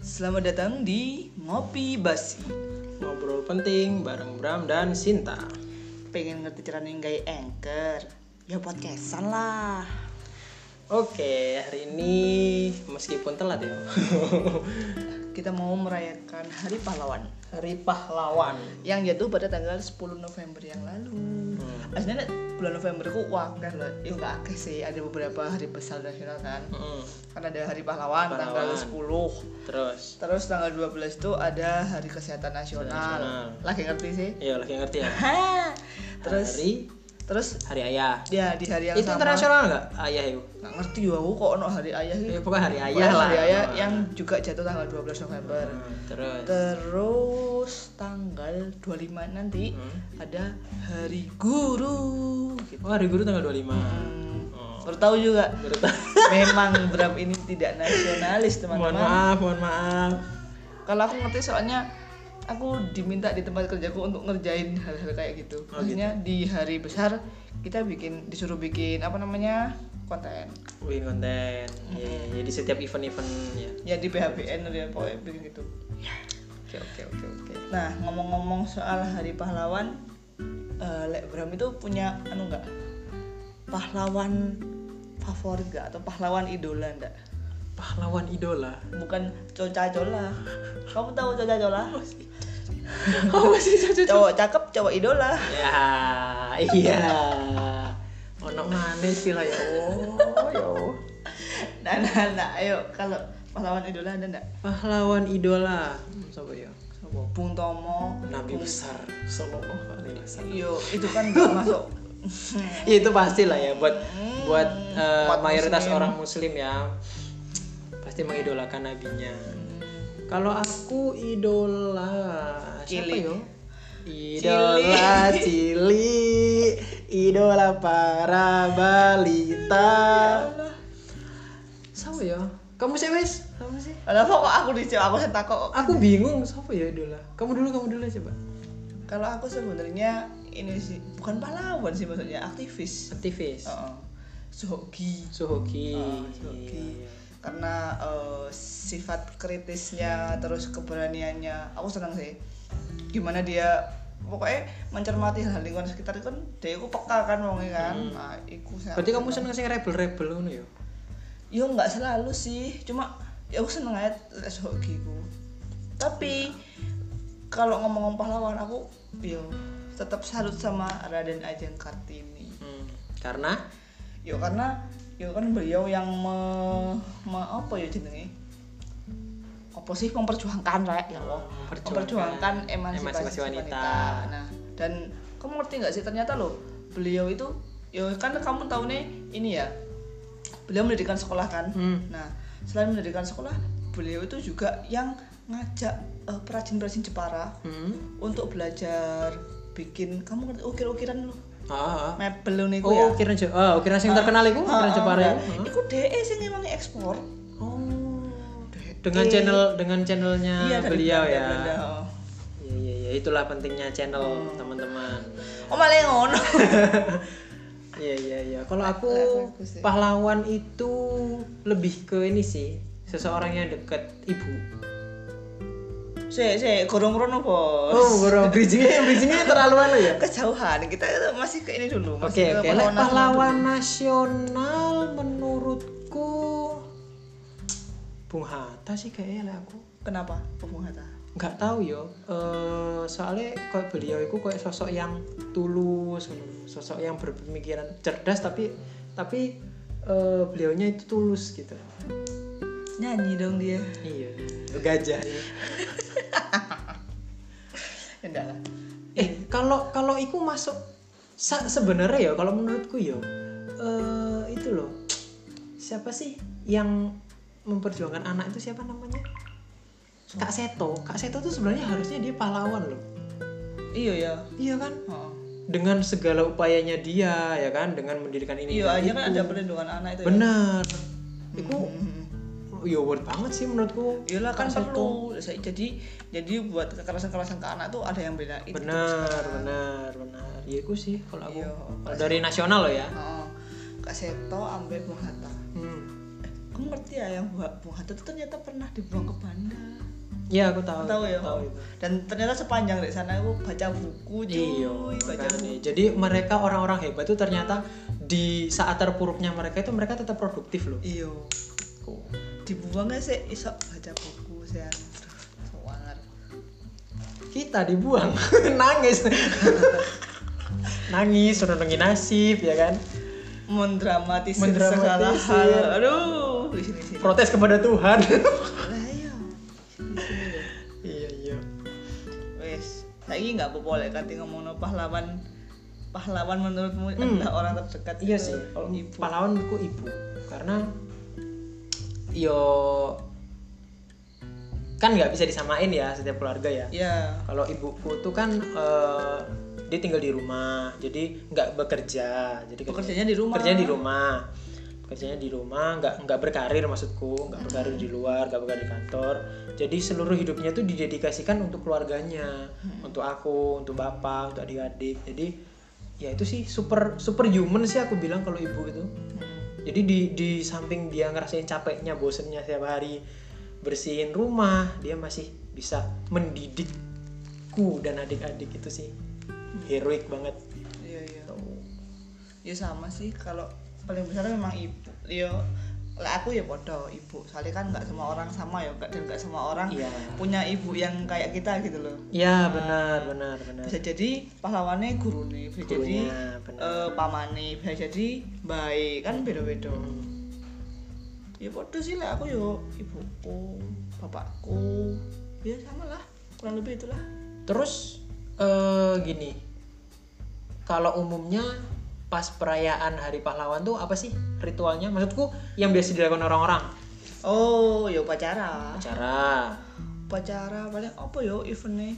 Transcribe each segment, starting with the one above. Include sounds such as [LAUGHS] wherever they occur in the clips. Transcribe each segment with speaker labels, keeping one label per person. Speaker 1: Selamat datang di Ngopi Basi.
Speaker 2: Ngobrol penting bareng Bram dan Sinta.
Speaker 1: Pengen ngerti caranya gaya anchor? Ya podcastan lah.
Speaker 2: Oke, hari ini meskipun telat ya. [LAUGHS]
Speaker 1: Kita mau merayakan Hari Pahlawan
Speaker 2: hari pahlawan.
Speaker 1: yang jatuh pada tanggal 10 November yang lalu. Aslinya nek bulan November ku wah kan loh. Ya enggak akeh sih, ada beberapa hari besar nasional kan.
Speaker 2: Mm,
Speaker 1: Kan ada Hari Pahlawan, tanggal
Speaker 2: Pahlawan.
Speaker 1: 10.
Speaker 2: Terus,
Speaker 1: Terus tanggal 12 itu ada Hari Kesehatan Nasional.
Speaker 2: Nasional.
Speaker 1: Lagi ngerti sih?
Speaker 2: ya lagi ngerti ya.
Speaker 1: Terus
Speaker 2: hari
Speaker 1: terus
Speaker 2: hari ayah.
Speaker 1: ya di hari yang
Speaker 2: itu
Speaker 1: sama
Speaker 2: internasional nggak ayah itu?
Speaker 1: nggak ngerti ya aku kok ono hari ayah
Speaker 2: Ya,
Speaker 1: gitu
Speaker 2: pokoknya hari ayah lah.
Speaker 1: hari ayah
Speaker 2: Nah.
Speaker 1: yang juga jatuh tanggal 12 November
Speaker 2: Hmm, terus.
Speaker 1: terus tanggal 25 nanti
Speaker 2: Hmm.
Speaker 1: ada hari guru gitu.
Speaker 2: Oh, hari guru tanggal 25.
Speaker 1: Hmm,
Speaker 2: Oh.
Speaker 1: baru tahu juga
Speaker 2: Baru tahu.
Speaker 1: memang Bram ini tidak nasionalis
Speaker 2: mohon
Speaker 1: teman-teman
Speaker 2: maaf, mohon maaf.
Speaker 1: kalau aku ngerti soalnya aku diminta di tempat kerjaku untuk ngerjain hal-hal kayak gitu
Speaker 2: Oh, gitu.
Speaker 1: maksudnya di hari besar kita bikin disuruh bikin apa namanya konten
Speaker 2: Bikin konten. Ya, ya, ya, di setiap event-event ya.
Speaker 1: ya di PHBN ya pokoknya bikin gitu
Speaker 2: Oke, oke, oke, oke.
Speaker 1: nah ngomong-ngomong soal Hari Pahlawan eh, Lek Bram itu punya anu nggak pahlawan favorit nggak atau pahlawan idola nggak
Speaker 2: Pahlawan
Speaker 1: [LAUGHS]
Speaker 2: idola.
Speaker 1: bukan Coca Cola kamu tahu Coca Cola
Speaker 2: Oh, masih cocok.
Speaker 1: cowok cakep cowok idola
Speaker 2: Ya, iya. Ono mana sih lah ya Allah, ya Allah.
Speaker 1: nah nah nah ayo kalau pahlawan idola ada nggak
Speaker 2: Pahlawan idola. Sopo ya?
Speaker 1: Sopo? Bung Tomo
Speaker 2: Nabi
Speaker 1: Bung-
Speaker 2: besar sallallahu alaihi wasallam.
Speaker 1: yo itu kan nggak masuk
Speaker 2: Ya, [LAUGHS] itu pasti lah ya buat buat eh,
Speaker 1: Buat
Speaker 2: mayoritas
Speaker 1: Hmm, muslim.
Speaker 2: orang muslim ya pasti mengidolakan nabinya. Kalau aku idola siapa
Speaker 1: Cili.
Speaker 2: yo? Idola Cili, idola para balita. Siapa ya? Kamu sih wes? Kamu sih?
Speaker 1: Alah, kok aku dicek aku setak kok
Speaker 2: Aku bingung siapa ya idola. Kamu dulu, kamu dulu coba.
Speaker 1: Kalau aku sebenarnya ini sih bukan pahlawan sih maksudnya aktivis.
Speaker 2: Aktivis.
Speaker 1: Heeh. Sohoki.
Speaker 2: Suhoki.
Speaker 1: Oh,
Speaker 2: iya,
Speaker 1: Suhoki. Karena eh, sifat kritisnya terus keberaniannya aku senang sih. Gimana dia pokoknya mencermati hal lingkungan sekitar itu kan dia itu peka kan wongnya kan. Nah, iku saya-
Speaker 2: Hmm. Berarti kamu seneng sing rebel-rebel ngono ya?
Speaker 1: Yo nggak selalu sih, cuma ya aku seneng aja les hoki ku. Tapi kalau ngomong-ngomong pahlawan aku, yo tetap salut sama Raden Ajeng Kartini.
Speaker 2: Hmm. Karena
Speaker 1: Yo karena yo kan beliau yang me, me- apa ya jenenge? Apa sih memperjuangkan rakyat ya Allah,
Speaker 2: Memperjuangkan
Speaker 1: memperjuangkan emansipasi,
Speaker 2: emansipasi
Speaker 1: wanita.
Speaker 2: wanita.
Speaker 1: Nah, dan kamu ngerti nggak sih ternyata loh beliau itu yo kan kamu tahu nih ini ya. Beliau mendirikan sekolah kan.
Speaker 2: hmm.
Speaker 1: Nah, selain mendirikan sekolah, beliau itu juga yang ngajak eh, perajin-perajin Jepara
Speaker 2: Hmm.
Speaker 1: untuk belajar bikin kamu ngerti ukir-ukiran lo,
Speaker 2: Ah. ah.
Speaker 1: mebel lo niku ya.
Speaker 2: Oh, kira Jepara. Ah, kira sing terkenal iku, kira Jepara.
Speaker 1: ya.
Speaker 2: iku.
Speaker 1: Iku DE sing emang ekspor.
Speaker 2: Oh.
Speaker 1: DE.
Speaker 2: Dengan channel dengan channelnya
Speaker 1: Iya, dari
Speaker 2: beliau
Speaker 1: Belanda,
Speaker 2: ya.
Speaker 1: Belanda, oh.
Speaker 2: Iya, iya, iya, itulah pentingnya channel, teman-teman.
Speaker 1: Oh, malah yang ngono. [LAUGHS]
Speaker 2: Iya iya iya. Kalau aku
Speaker 1: Level aku sih.
Speaker 2: pahlawan itu lebih ke ini sih seseorang yang dekat ibu.
Speaker 1: Sik, sik, gorong rono, Bos.
Speaker 2: Oh, bro, bridgingnya bridgingnya terlalu anu ya.
Speaker 1: Kejauhan, kita masih ke ini dulu, masih
Speaker 2: Oke oke.
Speaker 1: ke
Speaker 2: Lah,
Speaker 1: pahlawan nasional
Speaker 2: Pahlawan
Speaker 1: dulu.
Speaker 2: nasional menurutku Bung Hatta sih kayaknya lah aku.
Speaker 1: Kenapa? Bung Hatta.
Speaker 2: nggak tahu yo eh soalnya kayak beliau itu kayak sosok yang tulus ngono. sosok yang berpemikiran cerdas tapi tapi eh, beliaunya itu tulus gitu
Speaker 1: Nyanyi dong dia.
Speaker 2: iya gajah
Speaker 1: Ya enggak lah.
Speaker 2: eh kalau kalau iku masuk sa- sebenarnya ya kalau menurutku ya eh itu loh siapa sih yang memperjuangkan anak itu siapa namanya Kak Seto Kak Seto tuh sebenarnya harusnya dia pahlawan loh
Speaker 1: Iya ya.
Speaker 2: iya kan
Speaker 1: Heeh.
Speaker 2: dengan segala upayanya dia ya kan dengan mendirikan ini
Speaker 1: Iya
Speaker 2: dan
Speaker 1: aja
Speaker 2: itu.
Speaker 1: kan ada perlindungan anak itu. Ya.
Speaker 2: bener itu
Speaker 1: Hmm.
Speaker 2: ya worth banget sih menurutku
Speaker 1: Iyalah kan
Speaker 2: Kak Seto.
Speaker 1: perlu. Saya- Jadi jadi buat kekerasan-kekerasan ke anak tuh ada yang bedain.
Speaker 2: bener bener bener ya itu sih kalau aku
Speaker 1: Iya.
Speaker 2: Kalau dari nasional loh ya
Speaker 1: Heeh. Kak Seto ambek Bung Hatta.
Speaker 2: hmm.
Speaker 1: Eh, kok aku ngerti ya yang buah, buah itu ternyata pernah dibuang ke Banda
Speaker 2: Iya aku tahu.
Speaker 1: tahu ya
Speaker 2: Tahu itu.
Speaker 1: dan ternyata sepanjang di sana aku baca buku cuy
Speaker 2: Iya,
Speaker 1: baca
Speaker 2: makanya.
Speaker 1: buku
Speaker 2: jadi mereka orang-orang hebat itu ternyata di saat terpuruknya mereka itu mereka tetap produktif loh.
Speaker 1: iyo dibuang gak sih iso baca buku sih soalnya
Speaker 2: Kita dibuang, [LAUGHS] nangis, nangis, menenungi nasib ya kan,
Speaker 1: mendramatisir,
Speaker 2: Mendramatisir.
Speaker 1: segala hal aduh di sini sini
Speaker 2: protes kepada Tuhan. [LAUGHS]
Speaker 1: lah iya Di sini, sini.
Speaker 2: iya iya.
Speaker 1: wes saiki nggak apa-apa lek kate ngomongno pahlawan pahlawan menurutmu
Speaker 2: Hmm.
Speaker 1: adalah orang terdekat
Speaker 2: Iya
Speaker 1: itu
Speaker 2: sih, kalau
Speaker 1: ibu
Speaker 2: pahlawanku ibu karena yo kan nggak bisa disamain ya setiap keluarga ya.
Speaker 1: ya
Speaker 2: Kalau ibuku tuh kan eh, dia tinggal di rumah, jadi nggak bekerja, jadi kan
Speaker 1: Bekerjanya di rumah.
Speaker 2: Kerjanya di rumah, kerjanya di rumah, nggak nggak berkarir maksudku, nggak berkarir di luar, nggak berkarir di kantor. Jadi seluruh hidupnya tuh didedikasikan untuk keluarganya,
Speaker 1: Hmm.
Speaker 2: untuk aku, untuk bapak, untuk adik-adik. Jadi ya itu sih super superhuman sih aku bilang kalau ibu itu.
Speaker 1: Hmm.
Speaker 2: Jadi di di samping dia ngerasain capeknya, bosennya setiap hari bersihin rumah, dia masih bisa mendidikku dan adik-adik itu sih heroik banget.
Speaker 1: iya iya ya sama sih kalau paling besar memang ibu ya lah aku ya podo ibu soalnya kan nggak semua orang sama ya nggak dan nggak semua orang
Speaker 2: Iya.
Speaker 1: punya ibu yang kayak kita gitu loh
Speaker 2: Ya benar benar benar.
Speaker 1: bisa jadi pahlawannya guru nih bisa jadi
Speaker 2: Nah. Gurunya, benar.
Speaker 1: eh, pamane bisa jadi baik kan beda beda
Speaker 2: Hmm.
Speaker 1: ya podo sih lah aku yo ibuku bapakku ya sama lah kurang lebih itulah
Speaker 2: Terus eh, gini, kalau umumnya pas perayaan Hari Pahlawan tuh apa sih ritualnya? Maksudku yang biasa dilakukan orang-orang.
Speaker 1: oh yo pacara
Speaker 2: Acara,
Speaker 1: pacara paling apa yo eventnya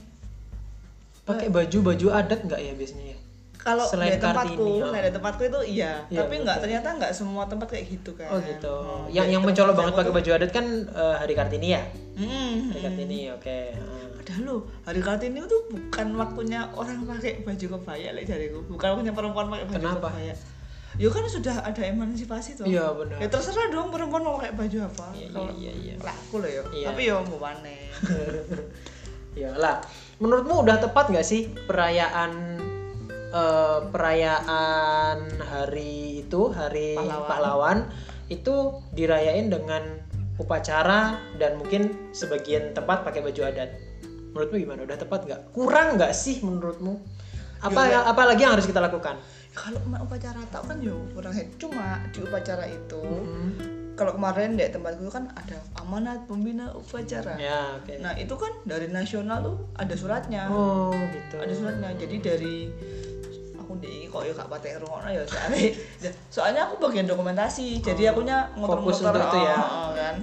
Speaker 2: pakai
Speaker 1: Eh.
Speaker 2: baju-baju adat nggak ya biasanya ya?
Speaker 1: kalau dari
Speaker 2: Selain
Speaker 1: tempatku,
Speaker 2: Kartini, oh.
Speaker 1: dari tempatku itu iya,
Speaker 2: Iya,
Speaker 1: tapi nggak
Speaker 2: betul.
Speaker 1: ternyata nggak semua tempat kayak gitu kan.
Speaker 2: Oh gitu.
Speaker 1: Hmm,
Speaker 2: yang
Speaker 1: dari
Speaker 2: yang
Speaker 1: tempat
Speaker 2: mencolok
Speaker 1: kerja
Speaker 2: banget
Speaker 1: aku
Speaker 2: pakai
Speaker 1: tuh-
Speaker 2: baju adat kan eh, hari Kartini ya?
Speaker 1: Hmm,
Speaker 2: Hari
Speaker 1: hmm.
Speaker 2: Kartini, oke. Ah.
Speaker 1: Padahal lo hari kartini itu bukan waktunya orang pakai baju kebaya lek jariku, bukan waktunya perempuan pakai baju
Speaker 2: Kenapa?
Speaker 1: kebaya. Ya kan sudah ada emansipasi tuh.
Speaker 2: Iya, benar.
Speaker 1: Ya terserah dong perempuan mau pakai baju apa.
Speaker 2: Iya,
Speaker 1: Kalau
Speaker 2: iya, iya, iya.
Speaker 1: lah, aku loh ya.
Speaker 2: Iya.
Speaker 1: Tapi ya mau
Speaker 2: [LAUGHS]
Speaker 1: aneh.
Speaker 2: Ya lah. Menurutmu udah tepat nggak sih perayaan eh, perayaan hari itu hari
Speaker 1: Pahlawan.
Speaker 2: pahlawan. itu dirayain dengan upacara dan mungkin sebagian tempat pakai baju adat. Menurutmu gimana? Udah tepat nggak? Kurang nggak sih menurutmu? Apa
Speaker 1: Ya,
Speaker 2: apalagi yang harus kita lakukan?
Speaker 1: Kalau emak upacara tau kan yo kurang head. cuma di upacara itu kalau kemarin di tempatku kan ada amanat pembina upacara.
Speaker 2: Ya, oke.
Speaker 1: Nah itu kan dari nasional tuh ada suratnya,
Speaker 2: Oh, gitu.
Speaker 1: ada suratnya. Jadi dari aku di kok ya kak patek rungokno ya soalnya, [LAUGHS] soalnya aku bagian dokumentasi. Jadi akunya
Speaker 2: Fokus
Speaker 1: muter-muter
Speaker 2: untuk itu ya.
Speaker 1: oh, oh, kan.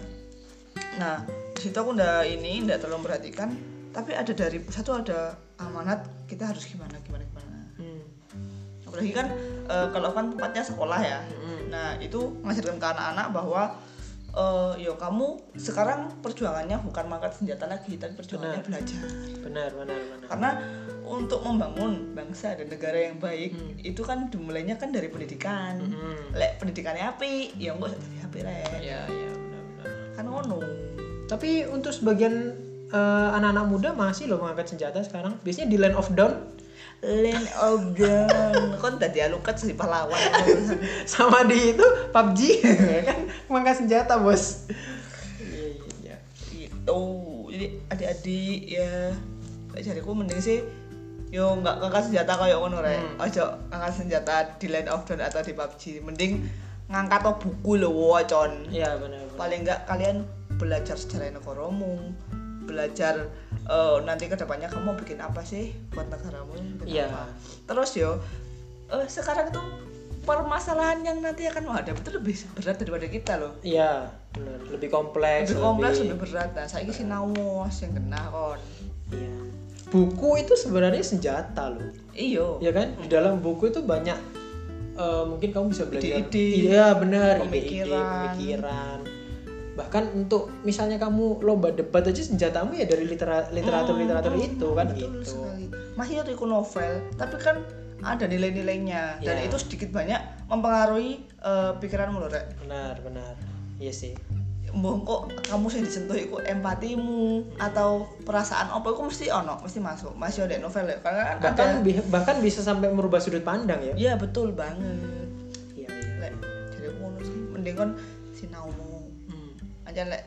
Speaker 1: Nah di situ aku ndak ini ndak terlalu memperhatikan. Tapi ada dari satu ada amanat kita harus gimana gimana gimana.
Speaker 2: Hmm.
Speaker 1: Apalagi kan eh, kalau kan tempatnya sekolah ya. Nah itu mengajarkan ke anak-anak bahwa eh, yo kamu sekarang perjuangannya bukan mangkat senjata lagi tapi perjuangannya
Speaker 2: Benar.
Speaker 1: belajar
Speaker 2: Benar, benar, benar.
Speaker 1: karena untuk membangun bangsa dan negara yang baik itu kan dimulainya kan dari pendidikan
Speaker 2: Hmm.
Speaker 1: lek pendidikannya api ya enggak usah jadi api rek
Speaker 2: Ya, ya, benar-benar.
Speaker 1: kan ngono
Speaker 2: Tapi untuk sebagian eh, anak-anak muda masih loh mengangkat senjata sekarang. Biasanya di land of down
Speaker 1: land of dawn kon tadi alukat sih pahlawan
Speaker 2: [LAUGHS] sama di itu [LAUGHS] PUBG kan mengangkat senjata, Bos. Iya, iya, iya.
Speaker 1: gitu jadi adik-adik ya lek jariku mending sih yo nggak ngangkat senjata kayak ngono rek ojo ngangkat senjata di land of dawn atau di PUBG mending ngangkat to buku lho wocon
Speaker 2: Iya, benar. benar.
Speaker 1: paling nggak kalian belajar sejarah negaramu belajar eh, nanti kedepannya kamu mau bikin apa sih buat negaramu bikin
Speaker 2: Iya.
Speaker 1: apa. terus yo eh, sekarang tuh permasalahan yang nanti akan menghadapi itu lebih berat daripada kita loh
Speaker 2: Iya, benar. Lebih kompleks,
Speaker 1: lebih kompleks lebih berat nah saya sih nawas yang kena kon
Speaker 2: Iya. Buku itu sebenarnya senjata loh.
Speaker 1: iyo
Speaker 2: ya kan di dalam buku itu banyak eh, mungkin kamu bisa belajar
Speaker 1: Ide-ide.
Speaker 2: iya benar ide-ide
Speaker 1: Pemikiran.
Speaker 2: pemikiran bahkan untuk misalnya kamu lomba debat aja senjatamu ya dari litera- literatur literatur itu kan
Speaker 1: Hmm, betul
Speaker 2: gitu
Speaker 1: sekali masih riku novel tapi kan ada nilai-nilainya dan
Speaker 2: Iya.
Speaker 1: itu sedikit banyak mempengaruhi eh, pikiranmu loh rek
Speaker 2: benar benar iya sih
Speaker 1: Mbah kok kamu sing disentuh iku empatimu atau perasaan apa iku mesti ono, mesti masuk. Masih ada novel ya. Karena kan ada
Speaker 2: bahkan bi- bahkan bisa sampai merubah sudut pandang ya
Speaker 1: Iya, betul banget.
Speaker 2: iya iya
Speaker 1: Lek jadi aku ngono sih mending kon sinaumu.
Speaker 2: Hmm.
Speaker 1: Aja lek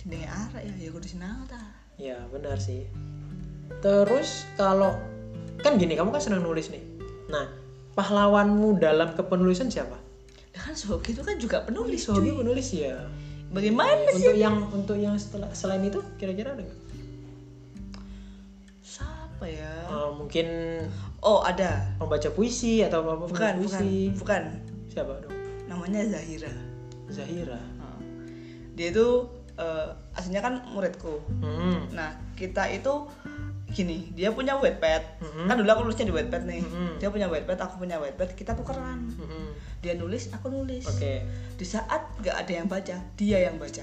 Speaker 1: jenenge arek ya ya kudu sinau ta.
Speaker 2: ya benar sih terus kalau kan gini kamu kan senang nulis nih nah pahlawanmu dalam kepenulisan siapa
Speaker 1: Ya kan Sohoki itu kan juga penulis,
Speaker 2: Sohogi
Speaker 1: cuy.
Speaker 2: penulis ya
Speaker 1: Bagaimana sih?
Speaker 2: untuk yang untuk yang setelah selain itu kira-kira ada nggak
Speaker 1: Siapa ya?
Speaker 2: Eh, mungkin
Speaker 1: Oh, ada.
Speaker 2: pembaca puisi atau apa
Speaker 1: Bukan, bukan,
Speaker 2: puisi
Speaker 1: bukan.
Speaker 2: siapa dong
Speaker 1: Namanya Zahira.
Speaker 2: Zahira
Speaker 1: Heeh. Dia itu eh, aslinya kan muridku.
Speaker 2: hmm.
Speaker 1: Nah, kita itu gini, dia punya wetpad.
Speaker 2: Mhm.
Speaker 1: Kan dulu aku nulisnya di wetpad nih.
Speaker 2: Mhm.
Speaker 1: Dia punya wetpad, aku punya wetpad, kita tukeran.
Speaker 2: Hmm.
Speaker 1: Dia nulis, aku nulis.
Speaker 2: oke
Speaker 1: Di saat nggak ada yang baca, dia yang baca.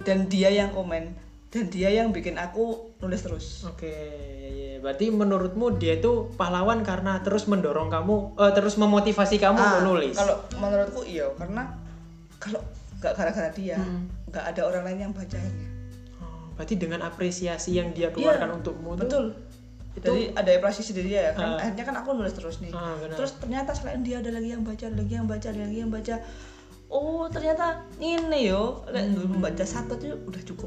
Speaker 1: Dan dia yang komen, dan dia yang bikin aku nulis terus.
Speaker 2: Oke, ya, ya. berarti menurutmu dia itu pahlawan karena terus mendorong kamu, eh, terus memotivasi kamu
Speaker 1: Ah,
Speaker 2: menulis.
Speaker 1: Kalau menurutku iya, karena kalau nggak gara-gara dia,
Speaker 2: Hmm.
Speaker 1: nggak ada orang lain yang baca akhirnya.
Speaker 2: Oh, berarti dengan apresiasi yang dia keluarkan untukmu tuh-
Speaker 1: Betul.
Speaker 2: Itu-
Speaker 1: Jadi ada apresiasi dari dia ya kan.
Speaker 2: Ah.
Speaker 1: Akhirnya kan aku nulis terus nih.
Speaker 2: Ah, benar.
Speaker 1: terus ternyata selain dia ada lagi yang baca, ada lagi yang baca, ada lagi yang baca. Oh ternyata ini yo,
Speaker 2: Hmm.
Speaker 1: lek dulu membaca satu tuh udah cukup.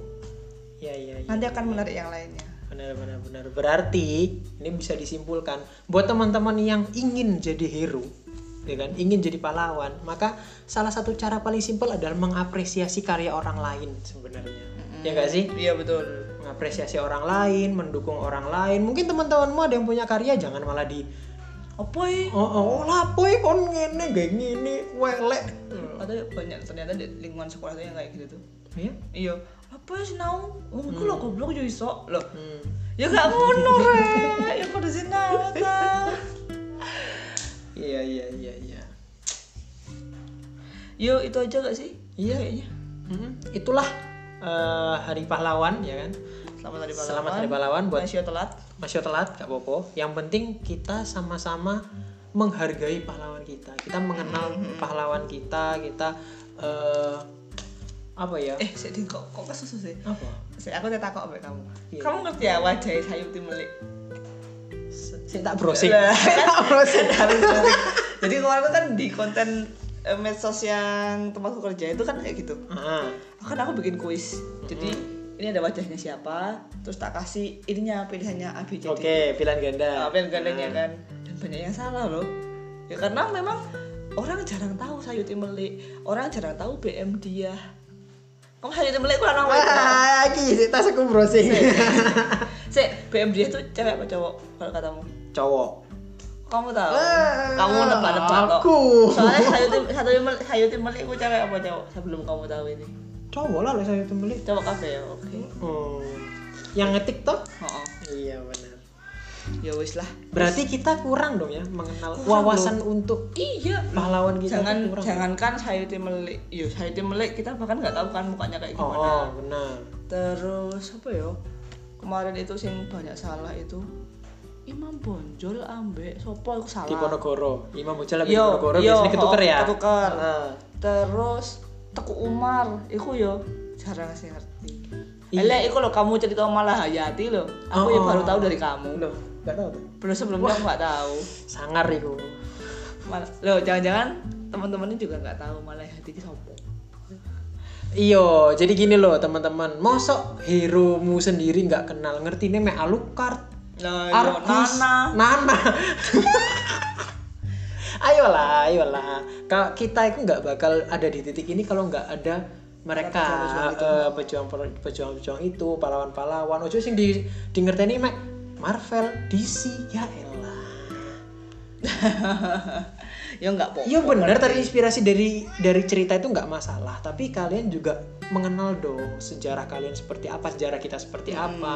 Speaker 2: Ya, ya, ya.
Speaker 1: Nanti akan menarik yang lainnya.
Speaker 2: Benar, benar, benar. Berarti ini bisa disimpulkan buat teman-teman yang ingin jadi hero, ya kan, ingin jadi pahlawan, maka salah satu cara paling simpel adalah mengapresiasi karya orang lain sebenarnya. Ya gak sih?
Speaker 1: Iya betul.
Speaker 2: Mengapresiasi orang lain, mendukung orang lain. Mungkin teman-temanmu ada yang punya karya, jangan malah di
Speaker 1: Apa ya?
Speaker 2: Oh, oh, oh lapo iki kon ngene gak ngene welek.
Speaker 1: Ada banyak ternyata di lingkungan sekolah tuh yang kayak gitu tuh.
Speaker 2: Ya.
Speaker 1: Iya. Apa ya sinau? Oh, iku lho goblok yo iso. Loh,
Speaker 2: Hmm.
Speaker 1: ya gak ngono rek ya kudu sinau ta
Speaker 2: Iya, iya, iya, iya.
Speaker 1: yo itu aja gak sih
Speaker 2: Iya.
Speaker 1: kayaknya
Speaker 2: Mm-mm. Itulah eh, hari pahlawan ya kan.
Speaker 1: selamat hari pahlawan
Speaker 2: Selamat hari pahlawan buat
Speaker 1: Masih telat
Speaker 2: Masya telat gak popo. Yang penting kita sama-sama menghargai pahlawan kita. Kita mengenal pahlawan kita, kita eh, apa ya?
Speaker 1: eh sik Din, kok kok kesusu sih
Speaker 2: Apa?
Speaker 1: Sik, aku tak takok sama kamu
Speaker 2: Iya.
Speaker 1: kamu ngerti ya wajah Sayuti Melik
Speaker 2: Saya tak browsing.
Speaker 1: Lah,
Speaker 2: tak browsing.
Speaker 1: harus ngerti. [LAUGHS] jadi kemarin tuh kan di konten eh, medsos yang tempatku kerja itu kan kayak gitu
Speaker 2: Ah,
Speaker 1: kan aku bikin kuis jadi ini ada wajahnya siapa terus tak kasih ininya pilihannya A B C D
Speaker 2: Oke, Ah, pilihan ganda.
Speaker 1: apa yang gandanya kan dan banyak yang salah loh ya karena memang orang jarang tahu Sayuti Melik orang jarang tahu BM dia kamu Sayuti Melik kurang tahu
Speaker 2: Wah, Ah, iki sik tas aku [LAUGHS] browsing.
Speaker 1: Sik, BM dia tuh cewek apa cowok kalau katamu
Speaker 2: Cowok.
Speaker 1: kamu tahu
Speaker 2: Wah,
Speaker 1: kamu nebak-nebak kok
Speaker 2: aku.
Speaker 1: soalnya Sayuti Sayuti Melik Sayuti Melik itu cewek apa cowok sebelum kamu tahu ini
Speaker 2: Cowok lah lah saya tembeli.
Speaker 1: cowok kafe ya oke
Speaker 2: Oh. Yang ngetik toh?
Speaker 1: Oh, oh.
Speaker 2: Iya benar.
Speaker 1: ya wis lah
Speaker 2: Berarti kita kurang dong ya mengenal
Speaker 1: Kurang
Speaker 2: wawasan untuk
Speaker 1: iya
Speaker 2: pahlawan kita. tuh
Speaker 1: jangan
Speaker 2: kurang.
Speaker 1: jangankan Sayuti Melik yo Sayuti Melik kita bahkan nggak tahu kan mukanya kayak
Speaker 2: Oh,
Speaker 1: gimana
Speaker 2: oh, benar.
Speaker 1: Terus apa ya? Kemarin itu sing banyak salah itu Imam Bonjol ambek sopo aku salah.
Speaker 2: Di Ponorogo. Imam Bujal lagi di
Speaker 1: Yo,
Speaker 2: Ponorogo
Speaker 1: yo,
Speaker 2: biasanya ketuker ya.
Speaker 1: ketuker.
Speaker 2: Heeh.
Speaker 1: Terus Teku Umar, iku yo jarang sih ngerti.
Speaker 2: Iya.
Speaker 1: Elek iku lho kamu cerita malah Hayati lho. Aku ya
Speaker 2: Oh.
Speaker 1: baru tahu dari kamu.
Speaker 2: Loh, enggak tahu tuh.
Speaker 1: Belum sebelumnya aku nggak tahu.
Speaker 2: Sangar iku.
Speaker 1: Mal- Loh, jangan-jangan teman-temannya juga nggak tahu malah Hayati ki sopo.
Speaker 2: Iyo, jadi gini loh teman-teman. Mosok hero mu sendiri nggak kenal ngerti nih me Alucard,
Speaker 1: Nah, yo,
Speaker 2: Arkus
Speaker 1: Nana. [LAUGHS]
Speaker 2: Nana. [LAUGHS] ayolah, ayolah. Kalau kita itu nggak bakal ada di titik ini kalau nggak ada mereka eh, pejuang-pejuang pejuang-pejuang itu, pahlawan-pahlawan. Ojo sing di di ngerteni mek Marvel, DC, ya elah.
Speaker 1: yo Ya nggak apa
Speaker 2: Iya bener terinspirasi dari dari cerita itu nggak masalah, tapi kalian juga mengenal dong sejarah kalian seperti apa, sejarah kita seperti
Speaker 1: Hmm.
Speaker 2: apa,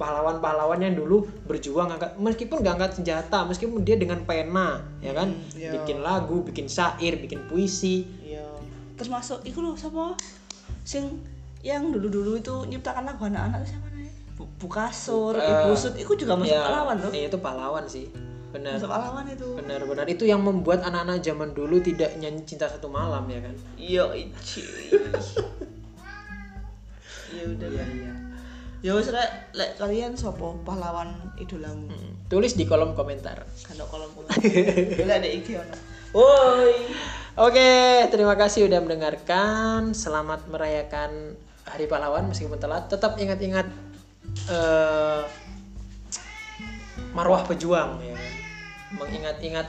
Speaker 2: pahlawan-pahlawan yang dulu berjuang angkat meskipun nggak angkat senjata, meskipun dia dengan pena, ya kan,
Speaker 1: Hmm, iya.
Speaker 2: bikin lagu, bikin syair, bikin puisi.
Speaker 1: Iya. Terus masuk iku lho siapa? Sing yang dulu-dulu itu nyiptakan lagu anak-anak itu siapa nih? Bu, Bu Kasur,
Speaker 2: Eh,
Speaker 1: Ibu Sud, iku juga masuk
Speaker 2: Ya,
Speaker 1: pahlawan tuh.
Speaker 2: iya, itu pahlawan sih. benar
Speaker 1: untuk lawan itu
Speaker 2: benar-benar itu yang membuat anak-anak zaman dulu tidak nyanyi cinta satu malam ya kan
Speaker 1: Yo ici. [LAUGHS] ya udah
Speaker 2: Iya,
Speaker 1: lah. Ya wis rek, lek kalian sopo pahlawan idolamu?
Speaker 2: Mm. tulis di kolom komentar
Speaker 1: Kan tok kolom [LAUGHS] komentar. Boleh ada IG ono. Woi.
Speaker 2: Oke, terima kasih udah mendengarkan. Selamat merayakan Hari Pahlawan meskipun telat. Tetap ingat-ingat eh, marwah pejuang ya. kan. Mengingat-ingat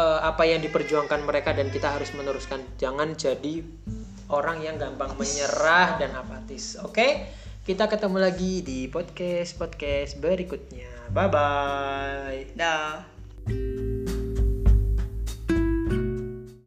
Speaker 2: eh, apa yang diperjuangkan mereka dan kita harus meneruskan. Jangan jadi orang yang gampang menyerah dan apatis. Oke? Kita ketemu lagi di podcast-podcast berikutnya. Bye bye.
Speaker 1: Dah.